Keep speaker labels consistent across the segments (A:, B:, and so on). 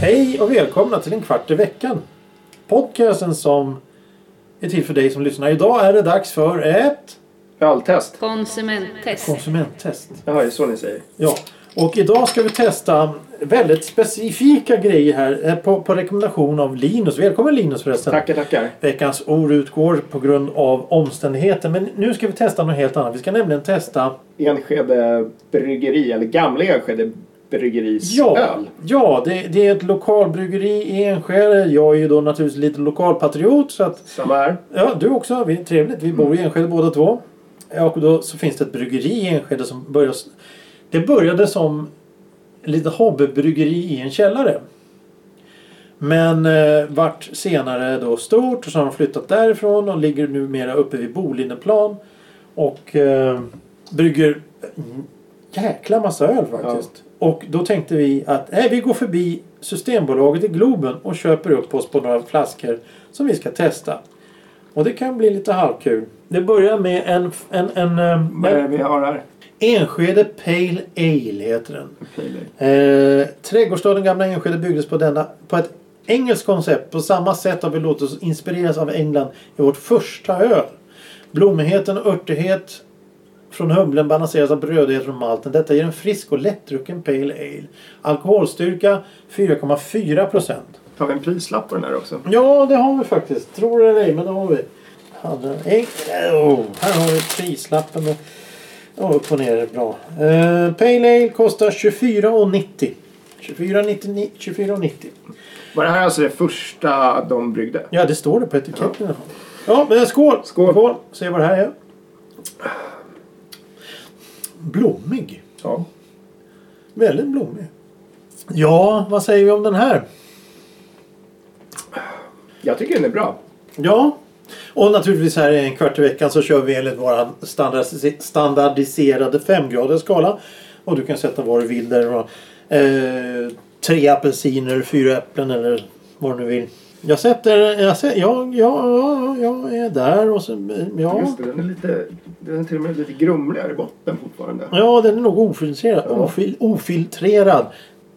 A: Hej och välkomna till en kvart i veckan. Podcasten som är till för dig som lyssnar. Idag är det dags för ett
B: Öltest.
C: Konsumenttest.
A: konsumenttest.
B: Jaha, det är så ni säger.
A: Ja, och idag ska vi testa väldigt specifika grejer här eh, på, på rekommendation av Linus. Välkommen Linus förresten.
B: Tackar, tackar.
A: Veckans ord utgår på grund av omständigheter. Men nu ska vi testa något helt annat. Vi ska nämligen testa
B: Enskede bryggeri, eller gamla Enskede bryggeris
A: Ja,
B: öl.
A: ja det, det är ett lokalbryggeri i Enskede. Jag är ju då naturligtvis lite lokalpatriot. Så att,
B: Samma här.
A: ja, du också. Vi, trevligt. Vi bor i Enskede båda två. Ja, Och då så finns det ett bryggeri i Enskede som började... Det började som lite hobbybryggeri i en källare. Men eh, vart senare då stort och så har de flyttat därifrån och ligger numera uppe vid Bolineplan. Och eh, brygger en jäkla massa öl faktiskt. Och då tänkte vi att nej, vi går förbi Systembolaget i Globen och köper upp oss på några flaskor som vi ska testa. Och det kan bli lite halvkul. Det börjar med en, en, en, en,
B: Vad är det
A: en
B: vi har här?
A: Enskede Pale Ale heter den.
B: Pale
A: Eh, trädgårdsstaden Gamla Enskede byggdes på, denna, på ett engelskt koncept. På samma sätt har vi låtit oss inspireras av England i vårt första öl. Blommigheten och örtighet från humlen balanseras av brödighet från malten. Detta ger en frisk och lättdrucken Pale Ale. Alkoholstyrka 4,4 procent.
B: Tar vi en prislapp på den här också?
A: Ja, det har vi faktiskt. Tror det eller ej, men det har vi. Hade en enkel- oh, här har vi prislappen. och- Ja, upp och ner är bra. Eh, Pale Ale kostar 24,90. 24,99 24,90.
B: Var det här alltså det första de bryggde?
A: Ja, det står det på etiketten. Ja, ja men skål!
B: Skål.
A: Se vad det här är. Blommig.
B: Ja.
A: Väldigt blommig. Ja, vad säger vi om den här?
B: Jag tycker den är bra.
A: Ja. Och naturligtvis här i en kvart i veckan så kör vi enligt vår standardis- standardiserade femgradiga skala. Och du kan sätta vad du vill där. Och, eh, tre apelsiner, fyra äpplen eller vad du vill. Jag sätter... Jag, sä- jag, jag, jag är där och sen... Ja,
B: Just det, den är lite... Den är till och med lite grumligare i botten fortfarande.
A: ja den är nog ofiltrerad.
B: Ja.
A: Ofil, ofiltrerad.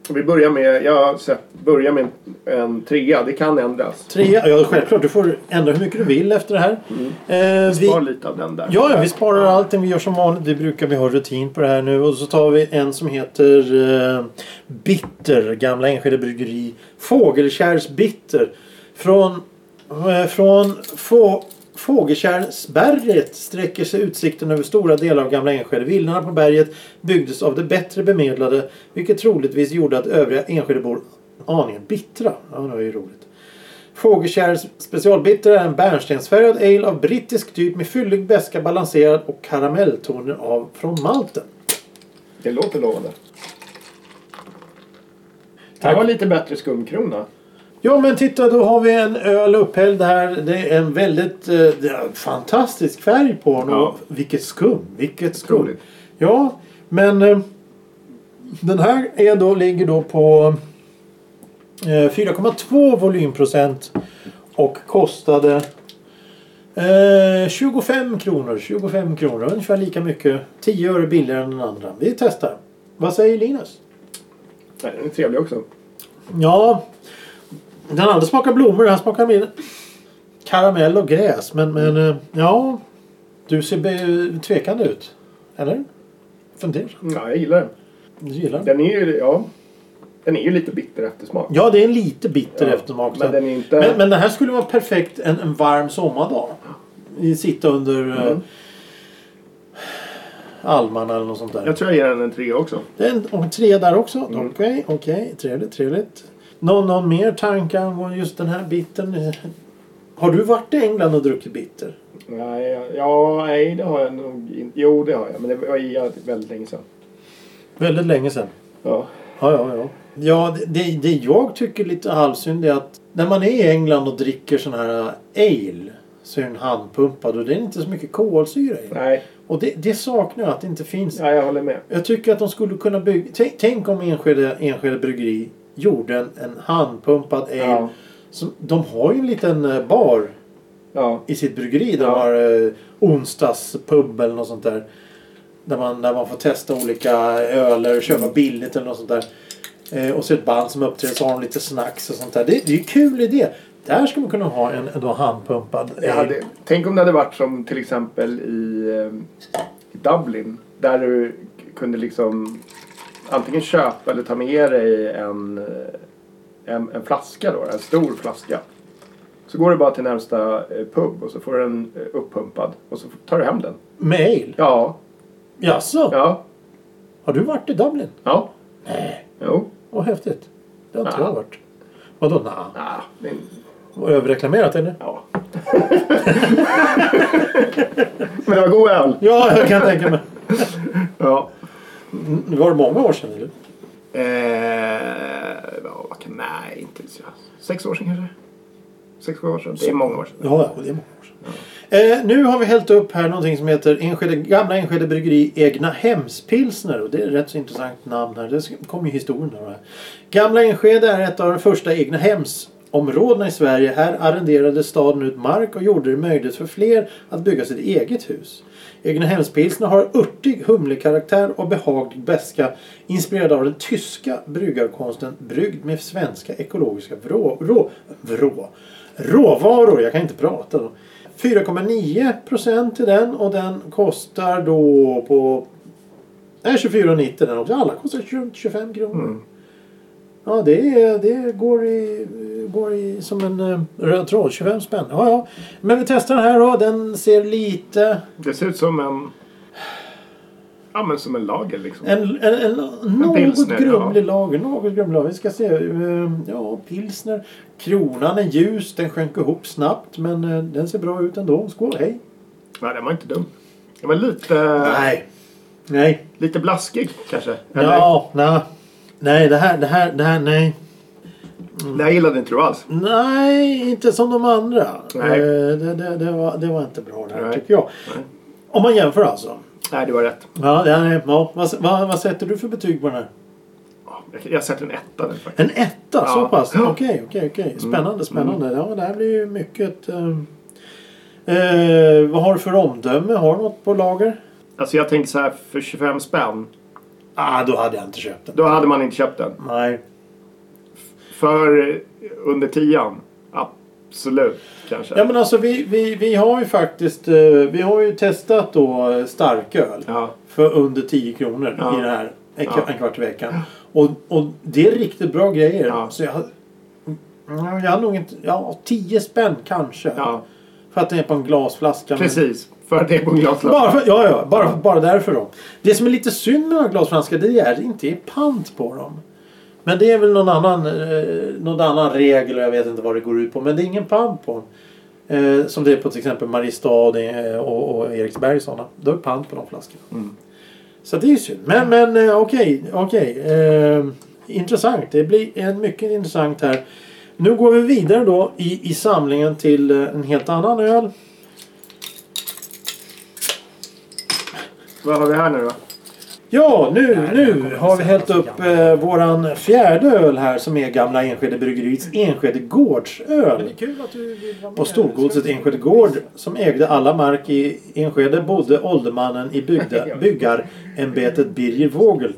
B: Och Vi börjar med... Jag har sett, börjar med en, en trea. Det kan ändras.
A: Tre, ja, självklart. Du får ändra hur mycket du vill efter det här.
B: Mm.
A: Eh, vi,
B: Spar lite av den där.
A: Ja, ja, vi sparar allting. Vi gör som vanligt. Det brukar vi ha rutin på det här nu. Och så tar vi en som heter eh, Bitter. Gamla Enskede Bryggeri. Fågelkärs Bitter. Från, eh, från få, Fågelkärsberget sträcker sig utsikten över stora delar av Gamla Enskede. Villorna på berget byggdes av de bättre bemedlade. Vilket troligtvis gjorde att övriga Enskedebor aningen bittra. Ja, det var ju roligt. Fågelkärrs specialbitter är en bärnstensfärgad ale av brittisk typ med fyllig beska balanserad och karamelltoner av från malten.
B: Det låter lovande. Det här var lite bättre skumkrona.
A: Ja men titta då har vi en öl upphälld här. Det är en väldigt eh, det är en fantastisk färg på den.
B: Ja.
A: Och Vilket skum! Vilket skum!
B: Otroligt.
A: Ja men eh, den här är då, ligger då på eh, 4,2 volymprocent och kostade eh, 25 kronor. 25 kronor, ungefär lika mycket. 10 öre billigare än den andra. Vi testar. Vad säger Linus?
B: Nej, Den är trevlig också.
A: Ja. Den andra smakar blommor, den här smakar mer karamell och gräs. Men, men eh, ja. Du ser be- tvekande ut. Eller? Funderar.
B: Ja, jag gillar den.
A: Du gillar den?
B: Den är ju, ja, den är ju lite bitter eftersmak.
A: Ja, det är en lite bitter
B: Ja,
A: eftersmak.
B: men den är inte-
A: men, men den här skulle vara perfekt en, en varm sommardag. I- Sitta under
B: Mm.
A: eh, almarna eller något sånt där.
B: Jag tror jag ger den en trea också.
A: Det är en, och tre där också. Okej, okej. Trevligt, trevligt. Någon, någon mer tanke angående just den här biten? Har du varit i England och druckit bitter?
B: Nej, jag- ja, nej, det har jag nog inte. Jo, det har jag. Men det var i väldigt länge sedan.
A: Väldigt länge sedan.
B: Ja.
A: Ja, ja, ja. Ja, det- det, det jag tycker är lite halvsynd är att när man är i England och äh, dricker sån här ale så är den handpumpad och det är inte så mycket kolsyra i. den.
B: Nej,
A: Och det, det saknar jag att det inte finns.
B: Ja, jag håller med.
A: Jag tycker att de skulle kunna bygga... Tänk, tänk om Enskede, Enskede Bryggeri gjorde en, en handpumpad ale.
B: Ja.
A: Som, de har ju en liten eh, bar
B: Ja.
A: i sitt bryggeri. Där de
B: Ja.
A: har eh, onsdagspub eller något sånt där. Där man, där man får testa olika öler och köpa billigt eller något sånt där. Eh, och så ett band som uppträder så har de lite snacks och sånt där. Det, det är ju kul idé. Där skulle man kunna ha en, en då handpumpad ale.
B: Jag hade, tänk om det hade varit som till exempel i, eh, i Dublin. Där du k- kunde liksom antingen köpa eller ta med dig en, eh, en, en flaska då, en stor flaska. Så går du bara till närmsta eh, pub och så får du den eh, uppumpad och så tar du hem den.
A: Med ale?
B: Ja,
A: Jaså?
B: ja,
A: Har du varit i Dublin?
B: ja. Jo,
A: Vad häftigt. Det har inte
B: Ja.
A: jag varit. Vadå nja?
B: ah, men,
A: Var Överreklamerat eller?
B: ja. men det var god öl.
A: Ja, jag kan tänka mig.
B: Ja.
A: Mm, Var det många år sedan eller?
B: Eh, ja, vad kan- nej, inte så. Sex år sedan kanske? Sex, sju år sedan. Det är många år sedan.
A: Ja, ja, det är många år sedan. Eh, nu har vi hällt upp här någonting som heter Enskede, Gamla Enskede Bryggeri Egna Hemspilsner. Och det är ett rätt så intressant namn här. Det kommer ju historien av det här. Gamla Enskede är ett av de första egna hemsområdena i Sverige. Här arrenderade staden ut mark och gjorde det möjligt för fler att bygga sitt eget hus. Egna hemspilsner har örtig humlekaraktär och behaglig beska inspirerad av den tyska bryggarkonsten bryggd med svenska ekologiska vrå, rå, vrå, råvaror. Jag kan inte prata då. 4,9% till den och den kostar då på... Nej, 24,90 den också. Alla kostar 20 25 kronor.
B: Mm.
A: Ja, det, är- det går, i, går i som en eh, röd tråd. 25 spänn. Ja, ja. Men vi testar den här då. Den ser lite...
B: Det ser ut som en... Ja, men som en lager liksom.
A: En, en, en, något
B: pilsner,
A: grumlig lager. Något grumlig lager. Vi ska se. ehm, Ja, pilsner. Kronan är ljus. Den sjönk ihop snabbt. Men eh, den ser bra ut ändå. Skål, hej.
B: Nej, den var inte dum. Den var lite,
A: Nej. Nej.
B: lite blaskig kanske.
A: Ja, nej. Nej, det här, det här, det här, nej.
B: Det här gillade inte du alls.
A: Nej, inte som de andra.
B: Nej.
A: Eh, Det, det, det, var, det var inte bra det här
B: Nej.
A: tycker jag.
B: Nej.
A: Om man jämför alltså.
B: Nej, du har rätt.
A: Ja, ja, nej, ja. Vad, vad, vad sätter du för betyg på den här?
B: Ja, jag- Jag sätter en etta nu faktiskt.
A: En etta, så pass?
B: Ja. Mm.
A: Okej, okej, okej. Spännande, spännande. Ja, det här blir ju mycket... ehm, Eh, vad har du för omdöme? Har du något på lager?
B: Alltså jag tänkte så här för 25 spänn.
A: Ah, då hade jag inte köpt den.
B: Då hade man inte köpt den.
A: Nej.
B: För eh, under tian. Absolut kanske.
A: Ja, men alltså vi, vi, vi har ju faktiskt... eh, vi har ju testat då eh, starköl.
B: ja.
A: För under 10 kronor
B: Ja.
A: i det här. En,
B: Ja.
A: en kvart i veckan. Och, och det är riktigt bra grejer.
B: Ja.
A: Så jag, hade- Mm, jag hade nog inte... Ja, 10 spänn kanske.
B: ja.
A: För att det är på en glasflaska. men-
B: Precis. För det är på en glaslapp.
A: Bara, för, ja, ja, bara, bara därför då. Det som är lite synd med de här glasflaskorna det är att det inte är pant på dem. Men det är väl någon annan, eh, någon annan regel och jag vet inte vad det går ut på. Men det är ingen pant på dem. Eh, som det är på till exempel Mariestad eh, och, och Eriksberg och sådana. Då är det pant på de flaskorna.
B: Mm.
A: Så det är ju synd. Men, men eh, okej, okej. Eh, intressant. Det blir en mycket intressant här. Nu går vi vidare då i, i samlingen till eh, en helt annan öl.
B: Vad har vi här nu då?
A: Ja, nu, nu har vi hällt upp eh, våran fjärde öl här som är gamla Enskede Bryggeriets Enskede Gårdsöl. På storgodset Enskede Gård som ägde alla mark i Enskede bodde åldermannen i bygda, byggarämbetet Birger Vogel.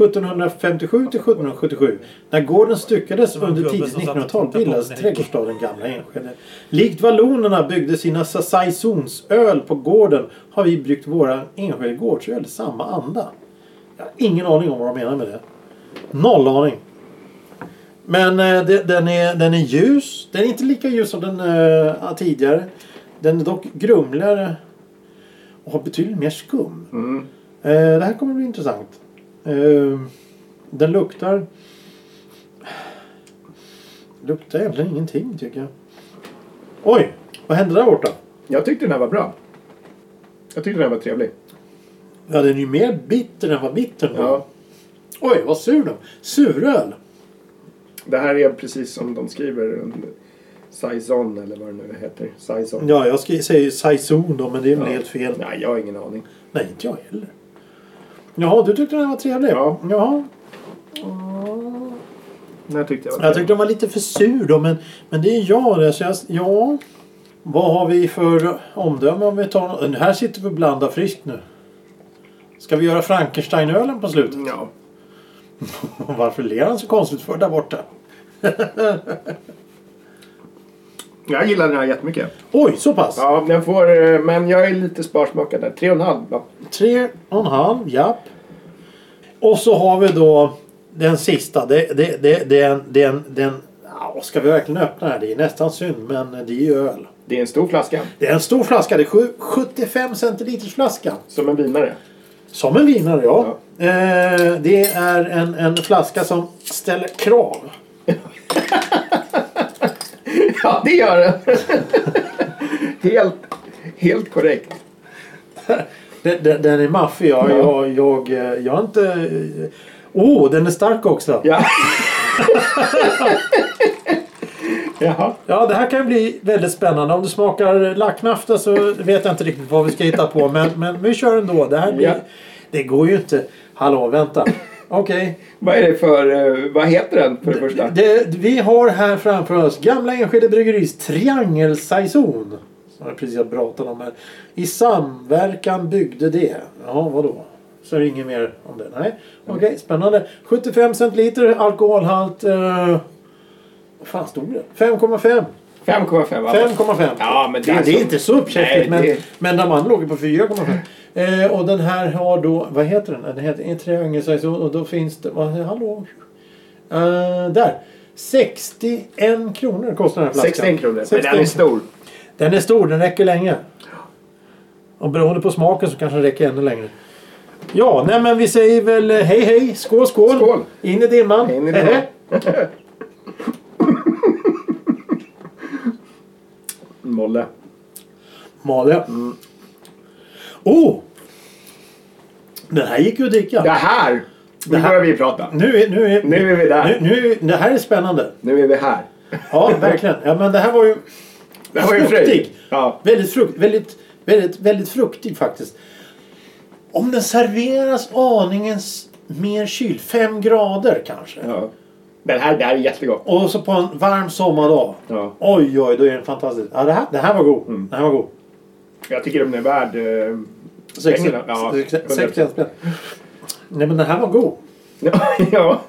A: 1757 till 1777. När gården styckades under tidigt 1900-tal bildades trädgårdsstaden Gamla Enskede. Likt vallonerna byggde sina sa- saisonsöl på gården har vi bryggt våra Enskede Gårdsöl i samma anda. Jag har ingen aning om vad de menar med det. Noll aning. Men eh, det, den, är, den är ljus. Den är inte lika ljus som den eh, tidigare. Den är dock grumligare och har betydligt mer skum.
B: Mm.
A: Eh, det här kommer bli intressant. Eh, den luktar... Luktar egentligen ingenting tycker jag. Oj! Vad hände där borta?
B: Jag tyckte den här var bra. Jag tyckte den här var trevlig.
A: Ja, den är ju mer bitter än vad bitter var.
B: Ja.
A: Oj, vad sur den var. Suröl!
B: Det här är precis som de skriver. En Saison eller vad det nu heter. Saison.
A: Ja, jag ska, säger Saison då, men det är väl helt fel.
B: Nej, jag har ingen aning.
A: Nej, inte jag heller. Jaha, du tyckte den var trevlig?
B: Ja.
A: Jaha.
B: Nej, jag tyckte jag var
A: Jag tyckte den var lite för sur då, men, men det är jag det. Så jag, ja. Vad har vi för omdöme om vi tar Den Här sitter vi och blandar friskt nu. Ska vi göra Frankensteinölen på slutet?
B: Ja.
A: Varför ler han så konstigt för där borta?
B: Jag gillar den här jättemycket.
A: Oj, så pass?
B: Ja, den får, eh, men jag är lite sparsmakad där. Tre och en halv va?
A: Tre och en halv, japp. Och så har vi då den sista. Det, det, det, den, den, den, ja, ska vi verkligen öppna den här? Det är nästan synd, men det är ju öl.
B: Det är en stor flaska.
A: Det är en stor flaska. Det är sju- 75 centiliters flaska.
B: Som en vinare.
A: Som en vinare, ja. Eh, det är en, en flaska som ställer krav.
B: Ja, det gör den. helt, helt korrekt.
A: Den, den, den är maffig. Jag,
B: Ja.
A: jag, jag, eh, jag har inte... eh, Åh, oh, den är stark också. Ja.
B: Ja. Jaha.
A: det här kan ju bli väldigt spännande. Om du smakar lacknafta så vet jag inte riktigt vad vi ska hitta på. Men, men vi kör ändå. Det här blir...
B: Ja.
A: Det går ju inte... Hallå, vänta. Okej.
B: Vad är det för... eh, Vad heter den för det första?
A: Det- Vi har här framför oss Gamla Enskede Bryggeris triangelsaison. Som jag precis har pratat om här. I samverkan byggde det. Ja, vadå? Så är det inget mer om det? Nej. Okej, spännande. 75 centiliter alkoholhalt. Eh... Vad fan stod det? 5,5.
B: 5,5 va?
A: 5,5.
B: Ja, men det är
A: det
B: så-
A: är inte så uppkäftigt.
B: Nej,
A: Men,
B: det-
A: men de andra låg ju på 4,5. Eh, och den här har då, vad heter den? Den heter en triangelsaison och då finns det, vad, hallå? Eh, där. 61 kronor kostar den här flaskan.
B: 61 kronor. Men
A: 61.
B: den är stor.
A: Den är stor, den räcker länge. Och beroende på smaken så kanske den räcker ännu längre. Ja, nej men vi säger väl eh, hej hej, skål skål.
B: Skål.
A: In i dimman.
B: In i
A: Hej,
B: dimman.
A: hej.
B: Molle.
A: Malin. Oh! Den här gick ju att dricka.
B: Det här!
A: Det
B: Nu
A: här-
B: börjar vi prata.
A: Nu är, nu, är,
B: Nu är vi där.
A: Nu, nu, det här är spännande.
B: Nu är vi här.
A: Ja, verkligen. Ja, men det här var ju
B: Det här var ju fröjd.
A: fruktig.
B: Ja.
A: Väldigt, frukt, väldigt, väldigt, väldigt fruktig faktiskt. Om den serveras aningens mer kyl, fem grader kanske.
B: ja. Den här, det här är jättegott.
A: Och så på en varm sommardag.
B: Ja.
A: Oj, oj, då är den fantastisk. Ja, det, här, det här var god. Det här var god.
B: Jag tycker den är värd... eh,
A: Sextio-
B: pengarna. Ja,
A: sex- 61 spänn. Nej, men den här var god.
B: Ja, ja.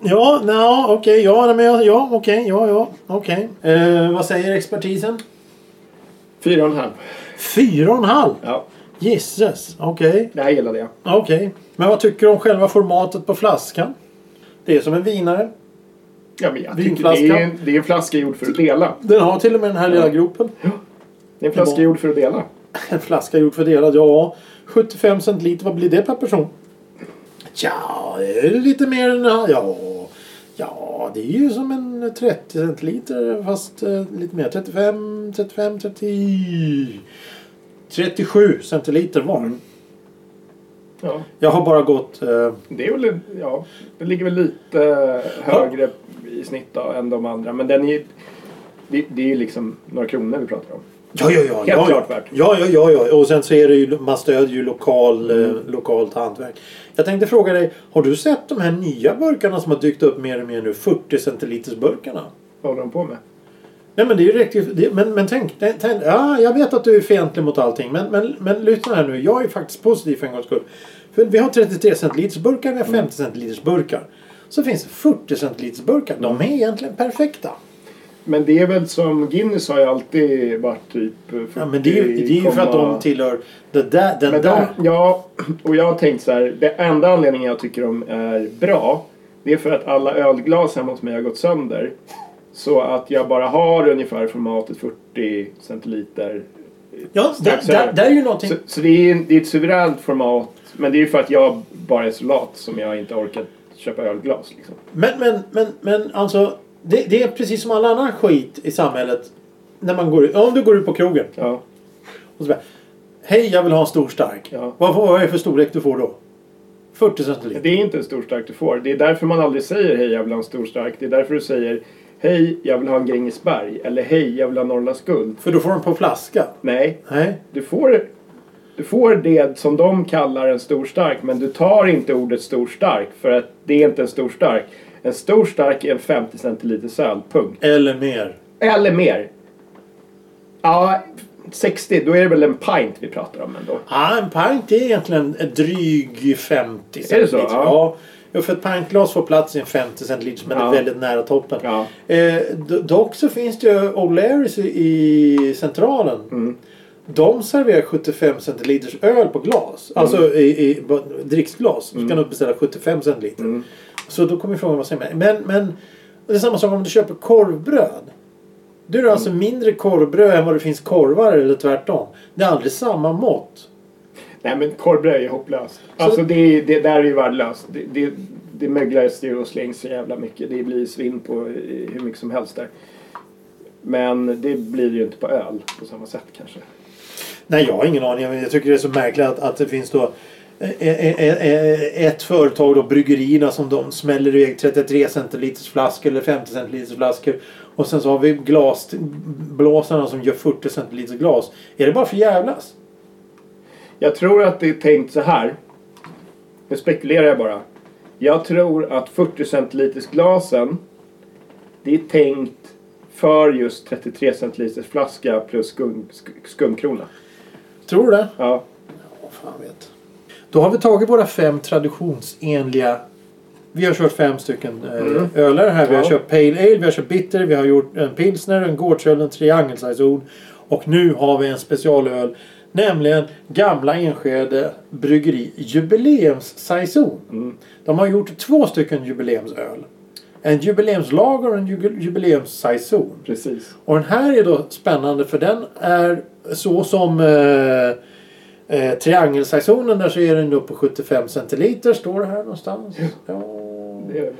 A: Ja, no, okej, ja, nej, men ja, ja, okej, ja, ja, okej. Eh, vad säger expertisen?
B: Fyra och en halv.
A: Fyra och en halv?
B: Ja,
A: Gisses, okej,
B: det här gillade jag.
A: okej. Men vad tycker du om själva formatet på flaskan? Det är som en vinare.
B: Ja, men jag tycker
A: Vinflaska.
B: det, är en, det är en flaska gjord för att dela.
A: Den har till och med den här lilla gropen.
B: Det är en flaska
A: Ja.
B: gjord för att dela.
A: En flaska gjord för delad, ja. 75 centiliter, vad blir det per person? Ja, det är lite mer än... Ja, ja det är ju som en 30 centiliter fast eh, lite mer. 35, 35, 30... 37 centiliter var.
B: Ja,
A: Jag har bara gått... Eh,
B: det är väl, en- ja, det ligger väl lite högre i snitt då, än de andra. Men den är det, det är ju liksom några kronor vi pratar om.
A: ja, ja, ja. ja,
B: klart värt.
A: Ja, ja, ja, ja. Och sen så är det ju, man stödjer ju lokal,
B: Mm.
A: eh, lokalt hantverk. Jag tänkte fråga dig, har du sett de här nya burkarna som har dykt upp mer och mer nu? 40 centiliters burkarna?
B: Vad håller de på med?
A: Nej men det är ju riktigt. Det, men, men tänk, tänk, tänk ja, jag vet att du är fientlig mot allting. Men, men, men lyssna här nu. Jag är faktiskt positiv för en gångs skull. För vi har 33 centiliters burkar, vi har 50 centiliters burkar. Så finns det 40 centiliters burkar. De är egentligen perfekta.
B: Men det är väl som Guinness har ju alltid varit typ 40,
A: Ja, men det är ju, det är ju för att de tillhör det där, den
B: Men
A: där.
B: de, ja, och jag har tänkt så här. Det enda anledningen jag tycker de är bra. Det är för att alla ölglas hemma hos mig har gått sönder. Så att jag bara har ungefär formatet 40 centiliter.
A: Ja, där,
B: strax
A: där,
B: över.
A: där är ju någonting.
B: Så, så det, är, det är ett suveränt format. Men det är ju för att jag bara är så lat som jag inte orkat köpa ölglas. Liksom.
A: Men, men, men, men alltså. Det, det är precis som all annan skit i samhället. När man går ut, om du går ut på krogen.
B: Ja,
A: Och så bara, Hej, jag vill ha en stor stark.
B: Ja.
A: Vad, vad är det för storlek du får då? 40 centiliter.
B: det är inte en stor stark du får. Det är därför man aldrig säger hej jag vill ha en stor stark. Det är därför du säger Hej, jag vill ha en Grängesberg. Eller hej, jag vill ha Norrlands guld.
A: För då får de på flaska.
B: Nej,
A: Nej.
B: du får, du får det som de kallar en stor stark. Men du tar inte ordet stor stark. För att det är inte en stor stark. En stor stark är en 50 centiliter öl. Punkt.
A: Eller mer.
B: Eller mer. Ja, 60. Då är det väl en pint vi pratar om ändå.
A: Ja, en pint är egentligen en dryg 50
B: Är det så?
A: centiliter.
B: Ja.
A: Ja, för ett pintglas får plats i en 50 centiliters men
B: Ja.
A: det är väldigt nära toppen.
B: Ja.
A: Eh, do- dock så finns det ju O'Learys i- i centralen.
B: Mm.
A: De serverar 75 centiliters öl på glas.
B: Mm.
A: Alltså i, i på dricksglas. Du kan nog beställa 75 centiliter.
B: Mm.
A: Så då kommer frågan vad säger man? Men, men det är samma sak om du köper korvbröd. Då är det
B: Mm.
A: alltså mindre korvbröd än vad det finns korvar eller tvärtom. Det är aldrig samma mått.
B: Nej men korvbröd är ju hopplöst. Alltså det, är- det där är ju värdelöst. Det, det, det möglas ju och slängs så jävla mycket. Det blir ju svinn på eh, hur mycket som helst där. Men det blir ju inte på öl på samma sätt kanske.
A: Nej, jag har ingen aning. Jag tycker det är så märkligt att, att det finns då eh, eh, eh, eh, ett företag, då, bryggerierna, som de smäller iväg 33 centiliters flaskor eller 50 centiliters flaskor. Och sen så har vi glasblåsarna som gör 40 centiliters glas. Är det bara för jävlas?
B: Jag tror att det är tänkt så här. Nu spekulerar jag bara. Jag tror att 40 centiliters glasen det är tänkt för just 33 centiliters flaska plus skum, sk- skumkrona.
A: Tror du det?
B: Ja.
A: Ja, fan vet. Då har vi tagit våra fem traditionsenliga vi har kört fem stycken eh,
B: Mm.
A: öler här. Vi har
B: Ja.
A: kört Pale Ale, vi har kört Bitter, vi har gjort en Pilsner, en Gårdsöl, en Triangelsaison. Och nu har vi en specialöl. Nämligen Gamla Enskede Bryggeri Jubileumssaison.
B: Mm.
A: De har gjort två stycken jubileumsöl. En jubileumslager och en ju- jubileumssaison.
B: Precis.
A: Och den här är då spännande för den är så som eh, eh, triangelsaisonen där så är den då på 75 centiliter. Står det här någonstans? Ja.
B: Det är,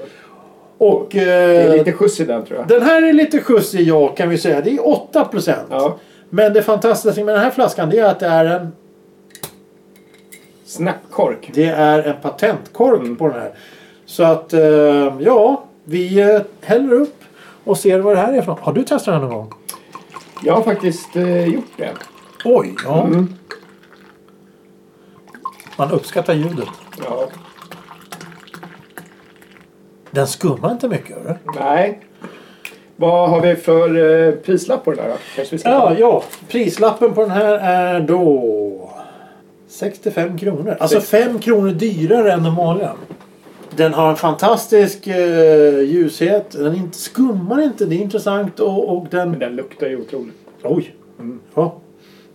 A: Och
B: det
A: eh,
B: är lite skjuts i den tror jag.
A: den här är lite skjuts i ja kan vi säga. Det är 8 procent.
B: Ja.
A: Men det fantastiska med den här flaskan det är att det är en,
B: Snäppkork.
A: det är en patentkork
B: Mm.
A: på den här. Så att eh, ja, vi eh, häller upp och ser vad det här är för något. Har du testat den här någon gång?
B: Jag har faktiskt eh, gjort det.
A: Oj, ja. Man uppskattar ljudet.
B: Ja.
A: Den skummar inte mycket, hörru.
B: Nej. Vad har vi för eh, prislapp på den här då? Kanske vi ska
A: Ja,
B: ta-
A: ja. Prislappen på den här är då... 65 kronor. Alltså 5 kronor dyrare än den vanliga. Den har en fantastisk eh, ljushet. Den inte, skummar inte. Det är intressant och, och den...
B: Men den luktar ju otroligt.
A: Oj! Ja.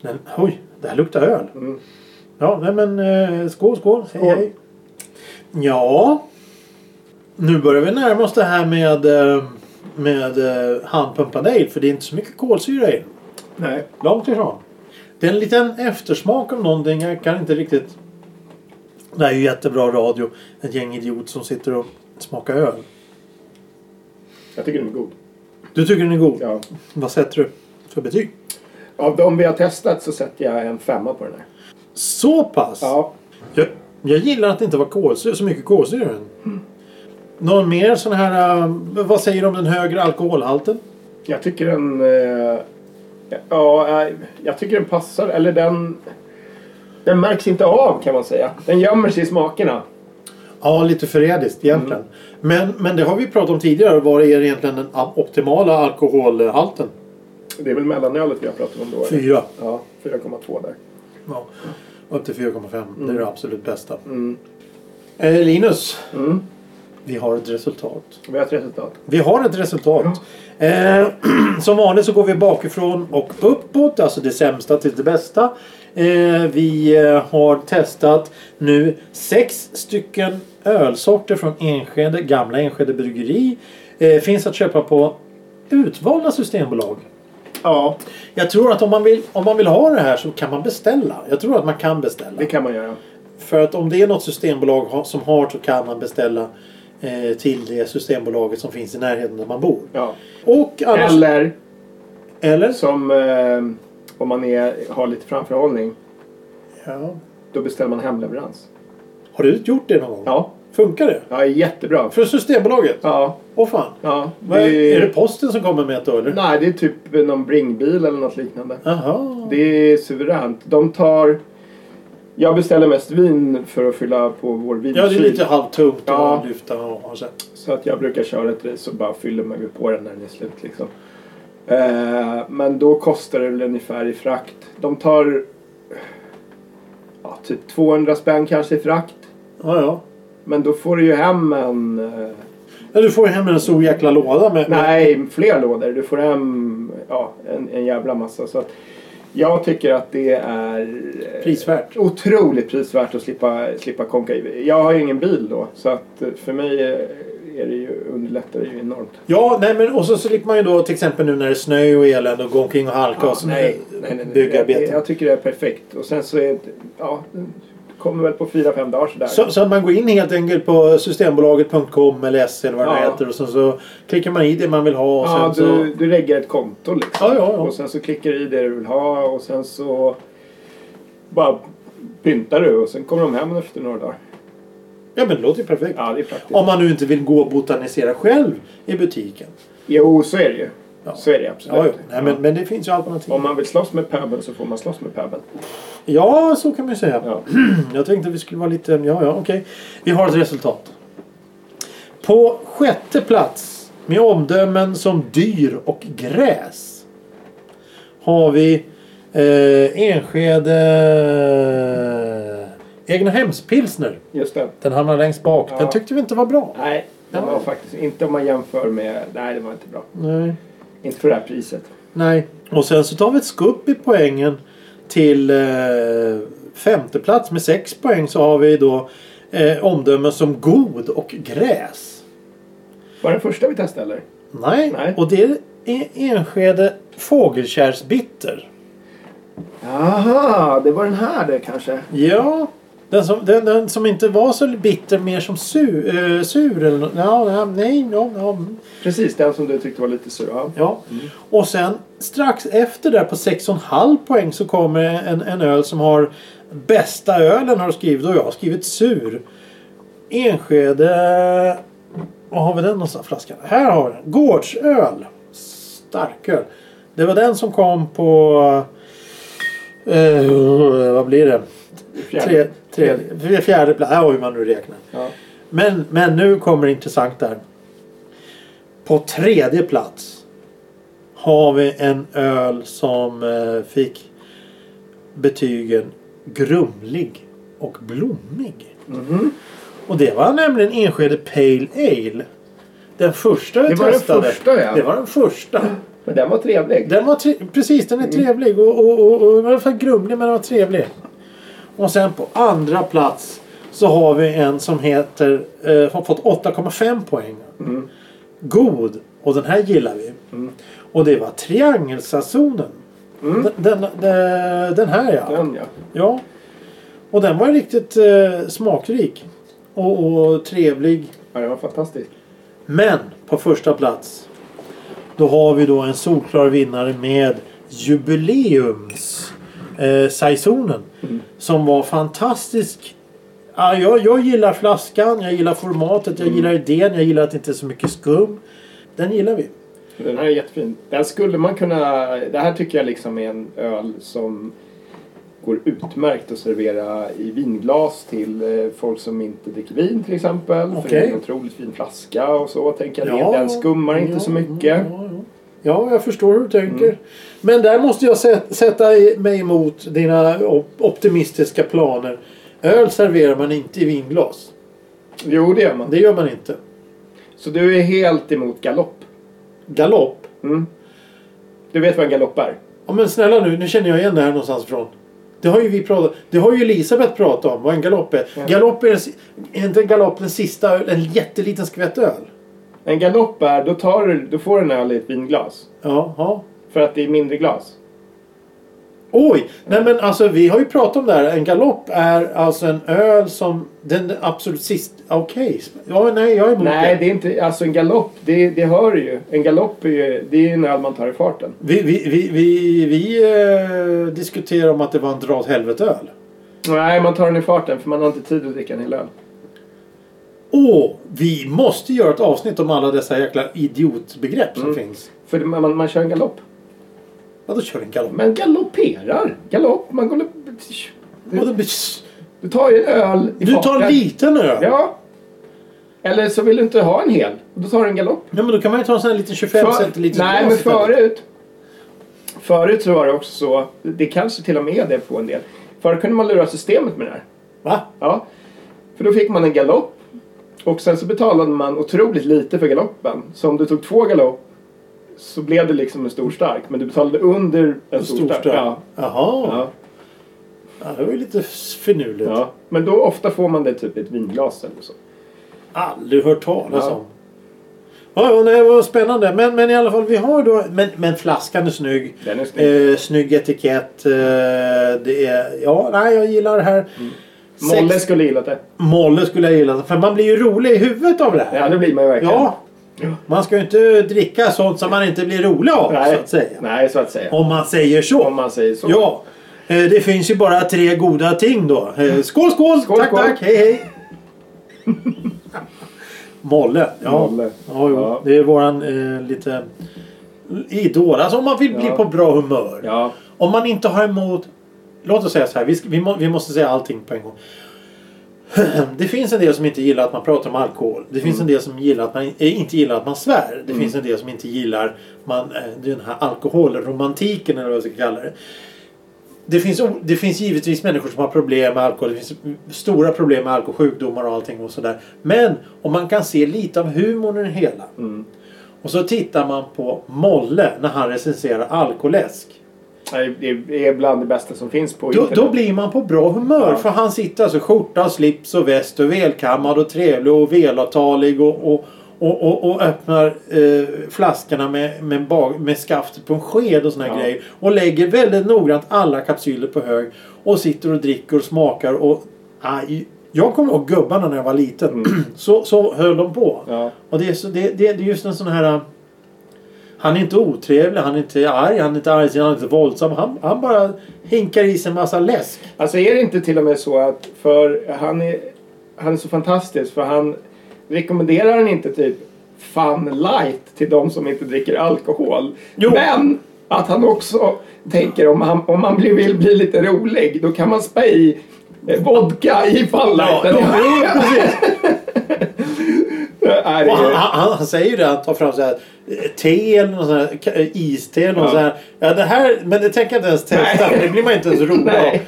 A: Den, oj, det här luktar öl. Ja, nej men eh, skål, skål. Hej,
B: Skål.
A: hej. Ja. Nu börjar vi närma oss det här med, eh, med eh, handpumpad ale. För det är inte så mycket kolsyra i den.
B: Nej.
A: Långt ifrån. Det är en liten eftersmak av någonting. Jag kan inte riktigt... Det här är ju jättebra radio. Ett gäng idiot som sitter och smakar öl.
B: Jag tycker den är god.
A: Du tycker den är god?
B: Ja.
A: Vad sätter du för betyg?
B: Av de vi har testat så sätter jag en femma på den här.
A: Så pass?
B: Ja.
A: Jag, jag gillar att det inte var kolsyra, så mycket kolsyra i den. Någon mer sån här... eh, vad säger du om den högre alkoholhalten?
B: Jag tycker den... eh, ja, eh, jag tycker den passar. Eller den... Den märks inte av kan man säga. Den gömmer sig i smakerna.
A: Ja, lite förrädiskt egentligen. Men, men det har vi pratat om tidigare. Vad är egentligen den a- optimala alkoholhalten?
B: Det är väl mellanölet vi har pratat om då? eller?
A: Fyra.
B: Ja, 4,2 där.
A: Ja. Upp till 4,5. Det är det absolut bästa. Eh, Linus.
B: Mm.
A: Vi har ett resultat.
B: Vi har ett resultat.
A: Vi har ett resultat. Eh, som vanligt så går vi bakifrån och uppåt. Alltså det sämsta till det bästa. Eh, vi eh, har testat nu sex stycken ölsorter från Enskede, gamla Enskede Bryggeri. Eh, finns att köpa på utvalda systembolag.
B: Ja,
A: Jag tror att om man, vill, om man vill ha det här så kan man beställa. Jag tror att man kan beställa.
B: det kan man göra.
A: För att om det är något systembolag ha- som har så kan man beställa eh, till det systembolaget som finns i närheten där man bor.
B: Ja.
A: Och annars... Eller,
B: Eller som eh, om man är, har lite framförhållning.
A: ja.
B: Då beställer man hemleverans.
A: Har du gjort det någon gång?
B: Ja,
A: Funkar det?
B: Ja, jättebra.
A: För Systembolaget?
B: Ja,
A: Åh fan.
B: ja.
A: Vad är,
B: Det-
A: är det posten som kommer med ett då eller?
B: Nej, det är typ någon bringbil eller något liknande.
A: Jaha.
B: Det är suveränt. De tar... Jag beställer mest vin för att fylla på vår vinkyl.
A: Ja, det är lite halvtungt
B: typ- Ja.
A: att lyfta och ha så. här.
B: Så att jag brukar köra ett race och bara fyller mig på den när den är slut. Liksom. Eh, men då kostar det väl ungefär i frakt. De tar ja, typ 200 spänn kanske i frakt.
A: Ja, ja.
B: Men då får du ju hem en... eh,
A: Ja, du får ju hem en stor jäkla låda med...
B: Nej, fler lådor. Du får hem ja, en, en jävla massa. Så att jag tycker att det är eh,
A: Prisvärt.
B: otroligt prisvärt att slippa, slippa konka i. Jag har ju ingen bil då, så att eh, för mig eh, är det ju, underlättar det ju enormt.
A: Ja, nej men och så slipper man ju då till exempel nu när det är snö och elände och gå omkring och halka och sådana
B: nej, nej, nej, nej. Jag,
A: byggarbeten.
B: jag tycker det är perfekt. Och sen så är det, ja, det kommer väl på fyra, fem dagar sådär.
A: Så, så att man går in helt enkelt på systembolaget.com eller SC eller vad det
B: Ja.
A: heter och sen så klickar man i det man vill ha och
B: ja,
A: sen
B: du,
A: så...
B: du lägger ett konto liksom.
A: Ja, ja, ja.
B: Och sen så klickar du i det du vill ha och sen så bara pyntar du och sen kommer de hem efter några dagar.
A: Ja men det låter ju perfekt.
B: Ja, det är praktiskt.
A: Om man nu inte vill gå och botanisera själv i butiken.
B: Jo, så är det ju.
A: Ja.
B: Så är det absolut.
A: Ja, jo. Nej, men, men det finns ju alternativ.
B: Om man vill slåss med pöbeln så får man slåss med pöbeln.
A: Ja, så kan man ju säga. Mm,
B: Ja.
A: Jag tänkte att vi skulle vara lite... Ja, ja, okej. Vi har ett resultat. På sjätte plats med omdömen som dyr och gräs har vi eh, Enskede egnahemspilsner.
B: Just det.
A: Den hamnar längst bak.
B: Ja.
A: Den tyckte vi inte var bra.
B: Nej, det var faktiskt inte om man jämför med... Nej, det var inte bra.
A: Nej.
B: Inte för det här priset.
A: Nej. Och sen så tar vi ett skupp i poängen till eh, femte plats med sex poäng så har vi då eh, omdömen som god och gräs.
B: Var det den första vi testade eller?
A: Nej.
B: Nej.
A: Och det är Enskede fågelkärsbitter.
B: Aha, det var den här det kanske.
A: Ja. Den som, den, den som inte var så bitter, mer som sur, eh, sur eller nå- ja, ja, nej, no, no.
B: Precis, den som du tyckte var lite sur. Ja.
A: Ja. Och sen strax efter där på 6,5 poäng så kommer en, en öl som har bästa ölen har du skrivit och jag har skrivit sur. Enskede... Var har vi den någonstans? Flaskan? Här har vi den. Gårdsöl. Starköl. Det var den som kom på... Eh, vad blir det? Tre, tre, fjärde plats. Ja, hur man nu räknar.
B: Ja.
A: Men, men nu kommer det intressant där. På tredje plats har vi en öl som eh, fick betygen grumlig och blommig.
B: Mhm.
A: Och det var nämligen Enskede Pale Ale. Den första vi
B: Det var den
A: testade.
B: första, ja.
A: Det var den första.
B: Men den var trevlig.
A: Den var tre- precis, den är trevlig. Och, och, och, och, i alla fall grumlig, men den var trevlig. Och sen på andra plats så har vi en som heter, eh, har fått 8,5 poäng. God. Och den här gillar vi. Och det var triangelsazonen. Den, den, den, den här ja.
B: Den ja.
A: Ja. Och den var riktigt eh, smakrik. Och, och trevlig.
B: Ja, den var fantastisk.
A: Men på första plats då har vi då en solklar vinnare med jubileums eh, saisonen,
B: Mm.
A: som var fantastisk. Ja, jag, jag gillar flaskan, jag gillar formatet,
B: Mm.
A: jag gillar idén, jag gillar att det inte är så mycket skum. Den gillar vi.
B: Den här är jättefin. Den skulle man kunna... Det här tycker jag liksom är en öl som går utmärkt att servera i vinglas till eh, folk som inte dricker vin till exempel. För det är
A: Okej.
B: en otroligt fin flaska och så tänker jag.
A: Ja.
B: Den skummar inte så
A: Ja,
B: mycket. Mm.
A: Ja, ja. ja, jag förstår hur du tänker. Men där måste jag sä- sätta i- mig emot dina op- optimistiska planer. Öl serverar man inte i vinglas.
B: Jo, det gör man.
A: Det gör man inte.
B: Så du är helt emot galopp?
A: Galopp
B: Mm. Du vet vad en galopp är?
A: Ja men snälla nu, nu känner jag igen det här någonstans ifrån. Det har ju vi pratat Det har ju Elisabeth pratat om vad en galopp är.
B: Ja.
A: Galopp är, den si- är inte en galopp den sista öl- en jätteliten skvätt öl?
B: En galopp är, då, tar du, då får du en öl i ett vinglas.
A: Ja, ja.
B: För att det är mindre glas.
A: Oj! Nej men alltså vi har ju pratat om det här. En galopp är alltså en öl som den absolut sista... Okej. Ja men nej, jag är emot
B: Nej,
A: det.
B: det är inte... Alltså en galopp, det, det hör du ju. En galopp är ju... Det är ju en öl man tar i farten.
A: Vi, vi, vi, vi, vi eh, diskuterar om att det var en dra åt helvete öl.
B: Nej, man tar den i farten för man har inte tid att dricka en hel öl.
A: Åh, vi måste göra ett avsnitt om alla dessa jäkla idiotbegrepp som
B: Mm.
A: finns.
B: För det- man, man kör en galopp.
A: Ja, då kör vi en galopp.
B: Man galopperar. Galopp. Man går...
A: Och
B: Du,
A: då blir-
B: du tar ju en öl i
A: Du tar en
B: farten.
A: liten öl.
B: Ja. Eller så vill du inte ha en hel. Då tar du en galopp.
A: Ja, men då kan man ju ta en sån här liten 25 centiliters
B: nej, men
A: glas istället.
B: förut. Förut så var det också så. Det kanske till och med är det på en del. Förut kunde man lura systemet med det här.
A: Va?
B: Ja. För då fick man en galopp. Och sen så betalade man otroligt lite för galoppen. Så om du tog två galopp så blev det liksom en stor stark. Men du betalade under en stor, stark. Ja.
A: Jaha.
B: Ja.
A: Ja, det var ju lite finurligt.
B: Ja. Men då ofta får man det typ i ett vinglas eller så.
A: Aldrig hört talas
B: Ja.
A: om. Ja, ja, nej, vad spännande. Men, men i alla fall, vi har då... Men, men flaskan är snygg.
B: Den är snygg.
A: Eh, snygg etikett. Eh, det är... Ja, nej, jag gillar det här. Sex-
B: Mm. Molle skulle gillat det.
A: Molle skulle jag gilla. För man blir ju rolig i huvudet av det här.
B: Ja, det blir man ju verkligen.
A: Ja. Man ska ju inte dricka sånt som man inte blir rolig av,
B: Nej.
A: så att säga.
B: Nej, så att säga.
A: Om man säger så.
B: Om man säger så.
A: Ja. Eh, Det finns ju bara tre goda ting då. Eh, Skål, skål!
B: Mm. Skål,
A: tack,
B: skål.
A: tack! Hej, hej! Molle. Ja,
B: Molle.
A: ja, jo.
B: Ja.
A: det är våran eh, lite idol. Alltså om man vill bli
B: Ja.
A: på bra humör.
B: Ja.
A: Om man inte har emot... Låt oss säga så här, vi, ska- vi, må, vi måste säga allting på en gång. Det finns en del som inte gillar att man pratar om alkohol. Det finns en del som gillar att man, eh, inte gillar att man svär. Det finns en del som inte gillar man, eh, den här alkoholromantiken eller vad jag ska kalla det. Det finns, o- det finns givetvis människor som har problem med alkohol. Det finns mm, stora problem med alkohol, sjukdomar och allting och sådär. Men om man kan se lite av humorn i det hela. Och så tittar man på Molle när han recenserar alkoläsk.
B: Nej, Det är bland det bästa som finns på
A: Då,
B: internet.
A: då blir man på bra humör
B: Ja.
A: för han sitter alltså i skjorta, och slips och väst och välkammad och trevlig och välavtalig och, och, och, och, och öppnar eh, flaskorna med, med, bag, med skaftet på en sked och såna här
B: Ja.
A: grejer. Och lägger väldigt noggrant alla kapsyler på hög och sitter och dricker och smakar och... Aj, jag kommer ihåg gubbarna när jag var liten. så, så höll de på.
B: Mm. Ja.
A: Och det är, så, det, det, det är just en sån här... äh, Han är inte otrevlig, han är inte arg, han är inte arg, han är inte våldsam. Han, han bara hinkar i sig en massa läsk.
B: Alltså är det inte till och med så att för han är, han är så fantastisk för han rekommenderar han inte typ fun light till de som inte dricker alkohol.
A: Jo.
B: Men att han också tänker om han, om man blir, vill bli lite rolig då kan man spä i eh, vodka i fun
A: Ja,
B: lighten.
A: jo, precis.
B: Nej, det
A: Och han,
B: är-
A: han, han säger ju det, han tar fram så här, eh, te eller något sånt här, ka- eh, iste eller något sånt
B: Ja.
A: här. Ja, det här. Men det tänker jag inte ens testa,
B: Nej.
A: för det blir man inte ens rolig av.
B: Nej.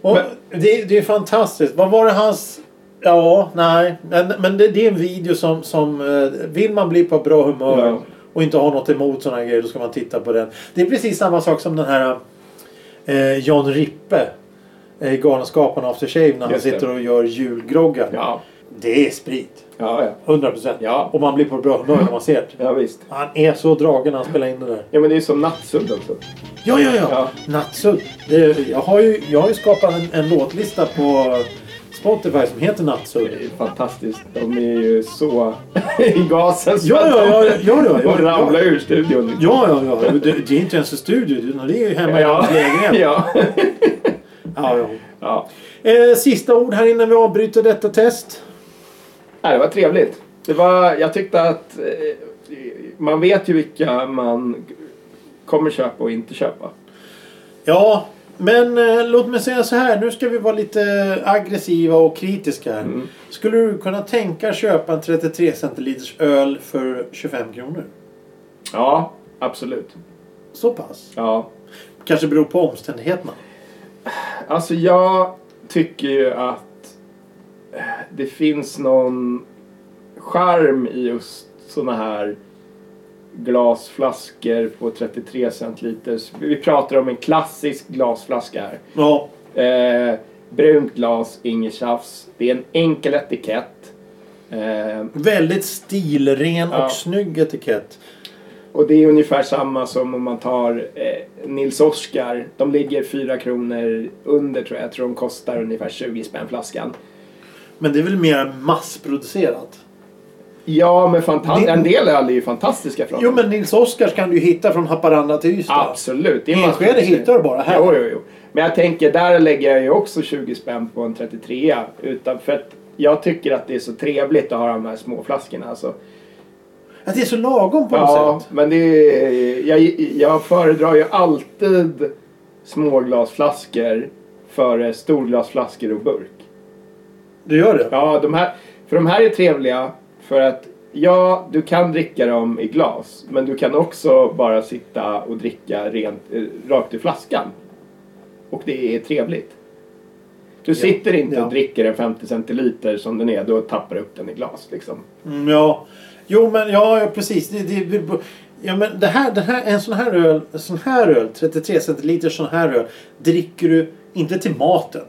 A: Och det, är- det är fantastiskt. Vad var det hans... Ja, nej. Men, men det, det är en video som... som eh, vill man bli på bra humör
B: Ja.
A: och inte ha något emot sådana grejer, då ska man titta på den. Det är precis samma sak som den här eh, John Rippe. Eh, Galenskaparna After Shave när han
B: Just det.
A: sitter och gör julgroggar.
B: Ja,
A: Det är sprit.
B: ja, ja.
A: 100 procent.
B: Ja.
A: Och man blir på bra humör när man ser det.
B: ja visst.
A: Han är så dragen när han spelar in det där.
B: Ja men det är som nattsudd också.
A: Ja, ja, ja.
B: Ja.
A: Nattsudd. Det- Jag har ju, jag har ju skapat en, en låtlista på Spotify som heter Nattsudd.
B: Det är fantastiskt. De är ju så i gasen. så
A: Ja,
B: att
A: ja,
B: de-
A: ja, ja, ja, ja,
B: Och
A: ja,
B: ramlar ur studion.
A: ja, ja, ja. Det, det är inte ens en studio, utan det är ju hemma i hans lägenhet.
B: ja.
A: Ja, ja.
B: ja.
A: Eh, sista ord här innan vi avbryter detta test.
B: Nej, det var trevligt. Det var, jag tyckte att eh, man vet ju vilka man kommer köpa och inte köpa.
A: Ja, men eh, låt mig säga så här. Nu ska vi vara lite aggressiva och kritiska här.
B: Mm.
A: Skulle du kunna tänka köpa en 33 centiliters öl för 25 kronor?
B: Ja, absolut.
A: Så pass.
B: Ja.
A: Kanske beror på omständigheterna.
B: Alltså jag tycker ju att eh, det finns någon charm i just såna här glasflaskor på 33 centiliters. Vi pratar om en klassisk glasflaska här.
A: Ja,
B: Eh, brunt glas, inget tjafs. Det är en enkel etikett. Eh,
A: väldigt stilren och
B: Ja.
A: snygg etikett.
B: och det är ungefär samma som om man tar eh, Nils Oskar. De ligger 4 kronor under tror jag. Jag tror de kostar ungefär 20 spänn flaskan.
A: Men det är väl mer massproducerat?
B: Ja, men fantas-
A: Det-
B: en del öl är ju fantastiska från
A: Jo,
B: dem.
A: men Nils Oskars kan du ju hitta från Haparanda till Ystad.
B: Absolut. det är
A: Enskede
B: massor.
A: hittar du bara här.
B: Jo, jo, jo. Men jag tänker, där lägger jag ju också 20 spänn på en 33 utan för att jag tycker att det är så trevligt att ha de här små flaskorna. Alltså.
A: Att det är så lagom på
B: Ja,
A: något sätt.
B: men det är, jag, jag föredrar ju alltid småglasflaskor före storglasflaskor och burk.
A: Du gör det?
B: Ja, de här, för de här är trevliga för att ja, du kan dricka dem i glas. Men du kan också bara sitta och dricka rent, eh, rakt i flaskan. Och det är trevligt. Du sitter inte
A: Ja.
B: och dricker en 50 centiliter som den är, då tappar du upp den i glas liksom.
A: Mm, ja. Jo, men ja, ja precis. Det, det, det, ja, men det här, det här, en sån här öl, en sån här öl, 33 centiliter sån här öl, dricker du inte till maten.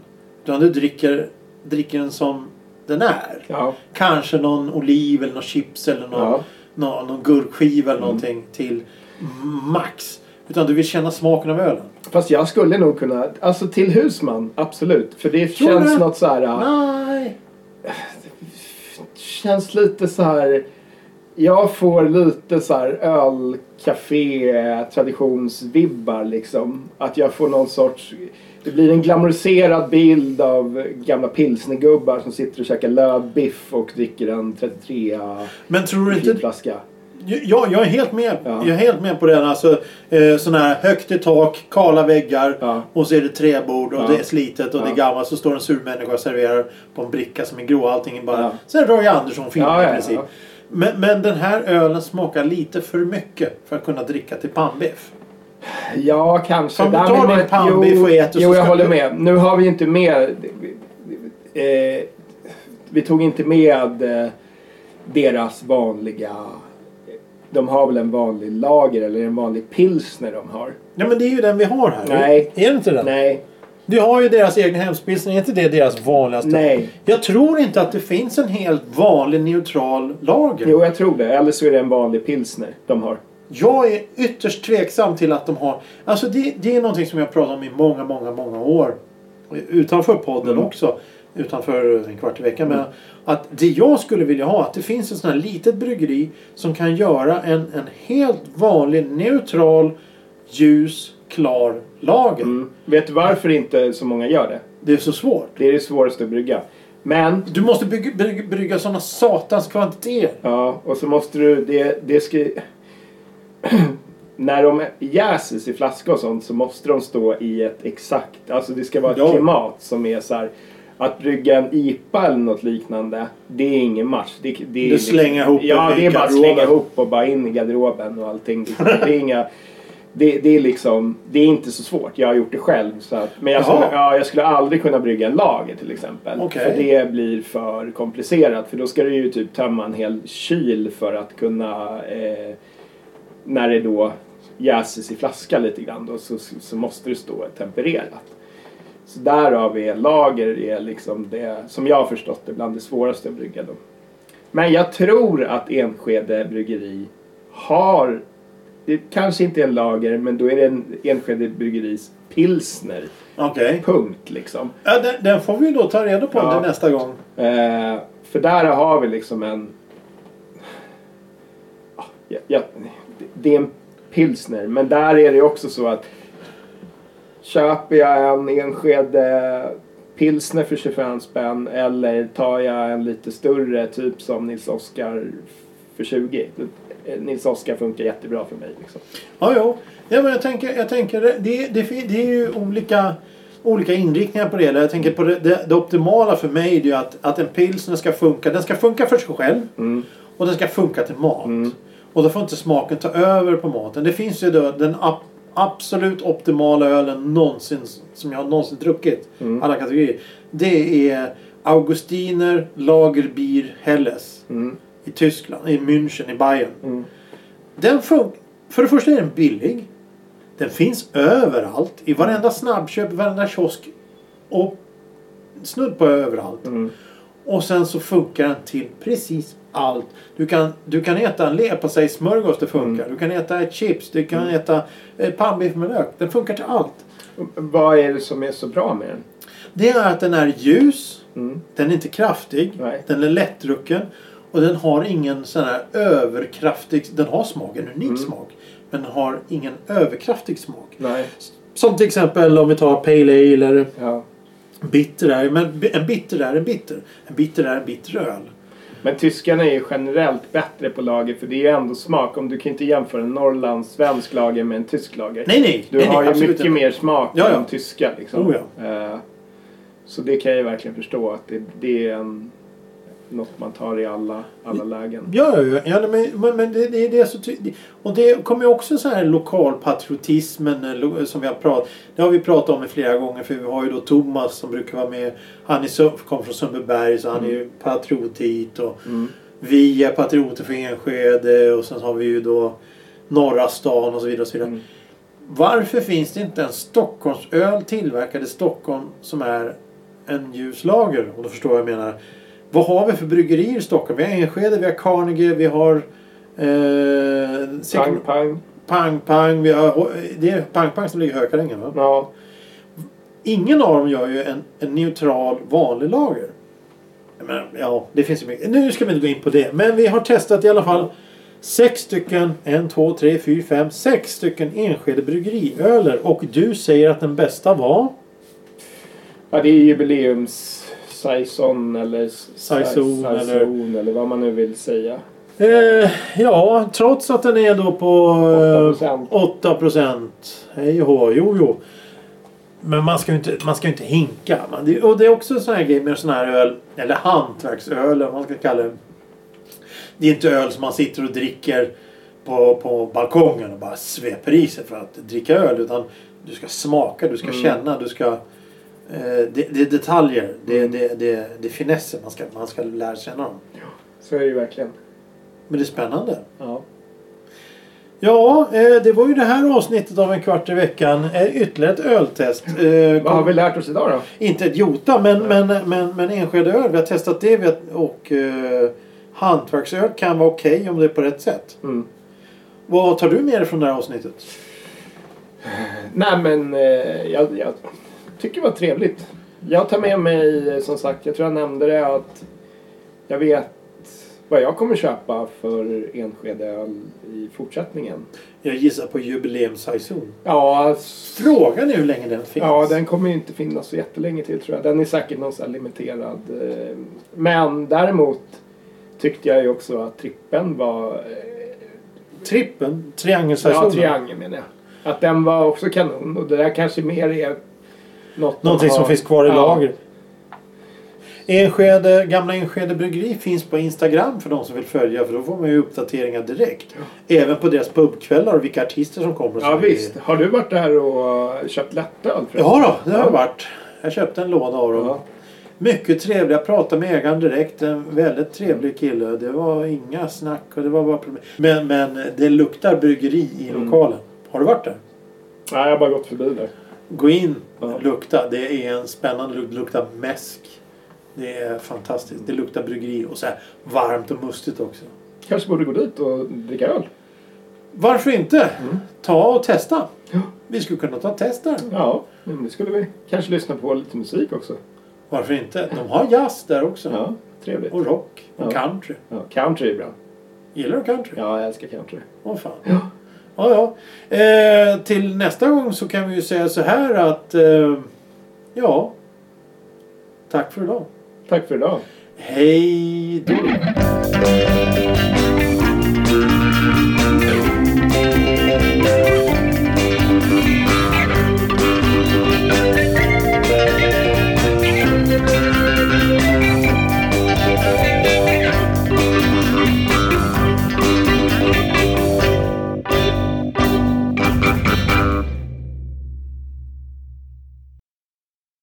A: Utan du dricker, dricker den som den är.
B: Ja.
A: Kanske någon oliv eller någon chips eller någon,
B: Ja. Mm.
A: någon, någon gurkskiva eller någonting till max. Utan du vill känna smaken av ölen.
B: Fast jag skulle nog kunna, alltså till husman, absolut. För det
A: Tror
B: känns
A: du?
B: något så här...
A: Nej.
B: känns lite så här... Jag får lite så här ölcafé traditionsvibbar liksom. Att jag får någon sorts... Det blir en glamoriserad bild av gamla pilsnergubbar som sitter och käkar lövbiff och dricker en 33
A: Men tror du inte...
B: flaska.
A: Jag, jag, är helt med,
B: Ja.
A: jag är helt med på den. Alltså, eh, sån här högt i tak, kala väggar
B: Ja.
A: och så är det träbord och
B: Ja.
A: det är slitet och det är
B: Ja.
A: gammalt. Så står en sur människa och serverar på en bricka som är grå. Allting är bara...
B: Ja.
A: Sen Roy Andersson-film
B: Ja,
A: i
B: ja, ja.
A: princip. Men, men den här ölen smakar lite för mycket för att kunna dricka till pannbiff.
B: Ja, kanske.
A: Om du
B: Där
A: tar
B: med-
A: din
B: med-
A: pannbiff
B: jo,
A: och äter så
B: Jo, jag
A: ska
B: håller
A: du-
B: med. Nu har vi ju inte med... Eh, vi tog inte med eh, deras vanliga... De har väl en vanlig lager eller en vanlig pilsner de har?
A: Ja men det är ju den vi har här.
B: Nej.
A: Är det inte den?
B: Nej.
A: Du har ju deras egna hemspilsning. Är inte det deras vanligaste?
B: Nej.
A: Jag tror inte att det finns en helt vanlig neutral lager.
B: Jo, jag tror det. Eller så är det en vanlig pilsner de har.
A: Jag är ytterst tveksam till att de har... Alltså det, det är någonting som jag pratat om i många, många, många år. Utanför podden
B: Mm.
A: också. Utanför en kvart i veckan. Men att det jag skulle vilja ha, att det finns ett sånt här litet bryggeri som kan göra en, en helt vanlig, neutral, ljus, klar lager.
B: Mm. Vet du varför inte så många gör det?
A: Det är så svårt.
B: Det är det svåraste att brygga. Men
A: Du måste bygga, brygga, brygga sådana satans kvantiteter.
B: Ja, och så måste du... Det, det ska, när de jäses i flaska och sånt så måste de stå i ett exakt... Alltså det ska vara ett
A: Ja.
B: klimat som är så här... Att brygga en IPA eller något liknande, det är ingen match. Det, det, är
A: Du slänger ihop
B: Ja,
A: den i
B: det är bara att
A: garderoben.
B: slänga ihop och bara in i garderoben och allting. Det, det är inga... Det, det är liksom... Det är inte så svårt. Jag har gjort det själv. Så att, men jag
A: Jaha.
B: skulle, ja, jag skulle aldrig kunna brygga en lager till exempel.
A: Okej.
B: För det det blir för komplicerat. För då ska du ju typ tömma en hel kyl för att kunna... Eh, när det då jäses i flaska lite grann då, så, så måste det stå tempererat. Så därav är lager är liksom det, som jag har förstått det, bland det svåraste att brygga. Då. Men jag tror att Enskede bryggeri har, det kanske inte är en lager, men då är det en Enskede bryggeris pilsner.
A: Okej.
B: Punkt liksom.
A: Ja, den, den får vi ju då ta reda på
B: Ja.
A: under nästa gång.
B: Eh, för där har vi liksom en... Ah, Ja, ja, det är en pilsner, men där är det också så att köper jag en ensked eh, pilsner för 25 spänn eller tar jag en lite större, typ som Nils Oskar för 20. Eh, Nils Oskar funkar jättebra för mig. Liksom.
A: Ja, jo. Ja, men jag tänker, jag tänker det, det, fin- det är ju olika, olika inriktningar på det. hela. Jag tänker på det, det, det optimala för mig är ju att, att en pilsner ska funka. Den ska funka för sig själv
B: Mm,
A: och den ska funka till mat. Och då får inte smaken ta över på maten. Det finns ju då den ab- absolut optimala ölen någonsin som jag någonsin druckit. Alla kategorier. Det är Augustiner Lagerbier Helles.
B: mm.
A: I Tyskland, i München, i Bayern. Den fun- för det första är den billig. Den finns överallt. I varenda snabbköp, varenda kiosk. Och snudd på överallt. Och sen så funkar den till precis allt. Du kan, du kan äta en leverpastejsmörgås, det funkar. Du kan äta ett chips, du kan äta eh, pannbiff med lök. Den funkar till allt.
B: Vad är det som är så bra med den?
A: Det är att den är ljus.
B: Mm.
A: Den är inte kraftig.
B: Nej.
A: Den är lättdrucken. Och den har ingen sån här överkraftig... Den har smak, en
B: Mm.
A: unik smak. Men den har ingen överkraftig smak.
B: Nej.
A: Som till exempel om vi tar Pale Ale eller
B: Ja.
A: Bitter är, men bi- en bitter är en bitter. En bitter är en bitter öl.
B: Men tyskarna är ju generellt bättre på lager för det är ju ändå smak. Om du kan inte jämföra en norrlandssvensk lager med en tysk lager.
A: Nej, nej.
B: Du
A: nej,
B: har
A: nej,
B: ju
A: absolut
B: mycket
A: inte.
B: mer smak
A: Ja, ja.
B: än tyska. Liksom.
A: Oh,
B: Eh, så det kan jag ju verkligen förstå att det, det är en, något man tar i alla,
A: Mm.
B: alla lägen.
A: Ja, ja, ja. ja nej, men, men, men det, det, det är så tydligt. Och det kommer ju också så här lokalpatriotismen eh, lo- som vi har pratat Det har vi pratat om i flera gånger för vi har ju då Thomas som brukar vara med. Han är, Sö- kom från Sundbyberg så han är ju patriot dit. Och
B: Mm.
A: Vi är patrioter för Enskede och sen har vi ju då Norra stan och så vidare. Och så vidare.
B: Mm.
A: Varför finns det inte en Stockholmsöl tillverkad i Stockholm som är en ljus lager? Om du förstår vad jag menar. Vad har vi för bryggerier i Stockholm? Vi har Enskede, vi har Carnegie, vi har... Eh,
B: Pang,
A: säkert-
B: pang.
A: pang Pang. Vi har, det är Pang Pang som ligger i Hökarängen va?
B: Ja.
A: Ingen av dem gör ju en, en neutral vanlig lager. Men, ja, det finns ju mycket. Nu ska vi inte gå in på det. Men vi har testat i alla fall sex stycken, en, två, tre, fyra, fem, sex stycken Enskede bryggeriöler. Och du säger att den bästa var?
B: ja, det är jubileums... Saison eller... s-
A: Saison eller-
B: Saison eller vad man nu vill säga.
A: Eh, ja, trots att den är då på eh,
B: 8%.
A: 8 procent. Hej och hå, jo jo. Men man ska ju inte, man ska ju inte hinka. Man, det, och det är också en sån här grej med sån här öl. Eller hantverksöl eller vad man ska kalla det. Det är inte öl som man sitter och dricker på, på balkongen och bara sveper i sig för att dricka öl. Utan du ska smaka, du ska
B: Mm.
A: känna, du ska... Eh, det, det är detaljer, det, det, det, det är finesser. Man ska, man ska lära känna dem.
B: Så är det ju verkligen.
A: Men det är spännande.
B: Ja.
A: Ja, eh, det var ju det här avsnittet av En kvart i veckan. Eh, Ytterligare ett öltest. Eh,
B: Vad har
A: kom-
B: vi lärt oss idag då?
A: Inte ett jota, men, men, men, men Enskede öl. Vi har testat det vi har, och eh, hantverksöl kan vara okej om det är på rätt sätt.
B: Mm.
A: Vad tar du med dig från det här avsnittet?
B: Nej men eh, jag, jag tycker det var trevligt. Jag tar med mig eh, som sagt, jag tror jag nämnde det att jag vet vad jag kommer köpa för Enskedeöl i fortsättningen.
A: Jag gissar på jubileumssaison.
B: Ja, alltså,
A: Frågan är hur länge den finns.
B: ja, den kommer ju inte finnas så jättelänge till tror jag. Den är säkert någon sån här limiterad. eh, Men däremot tyckte jag ju också att trippen var... eh,
A: Trippen,
B: Ja,
A: triangelsaison.
B: triangeln menar jag. Att den var också kanon och det där kanske mer är något man
A: Någonting som
B: har-
A: finns kvar i
B: Ja.
A: lager. Enskede, gamla Enskede Bryggeri finns på Instagram för de som vill följa för då får man ju uppdateringar direkt. Även på deras pubkvällar och vilka artister som kommer. och
B: Ja
A: så.
B: visst. Har du varit där och köpt lättöl? förresten?
A: Ja då, det har
B: Ja.
A: jag varit. Jag köpte en låda av dem.
B: Ja.
A: Mycket trevliga. Jag pratade med ägaren direkt. En väldigt trevlig kille. Det var inga snack och det var bara problem. Men, men det luktar bryggeri i
B: Mm.
A: lokalen. Har du varit där?
B: Nej, jag har bara gått förbi där.
A: Gå in,
B: Ja.
A: lukta. Det är en spännande lukt. Det luktar mäsk. Det är fantastiskt. Det luktar bryggeri och så här varmt och mustigt också.
B: Kanske borde gå dit och dricka öl.
A: Varför inte? Ta och testa.
B: Mm. Ja.
A: Vi skulle kunna ta test där.
B: Ja, men det skulle vi. Kanske lyssna på lite musik också.
A: Varför inte? De har jazz där också.
B: Ja, trevligt.
A: Och rock. Och
B: Ja.
A: country.
B: Ja, country är bra.
A: Gillar du country?
B: Ja, jag älskar country.
A: Åh fan. Ja. Ja, Eh, till nästa gång så kan vi ju säga så här att... Eh, ja. Tack för idag.
B: Tack för idag.
A: Hej då.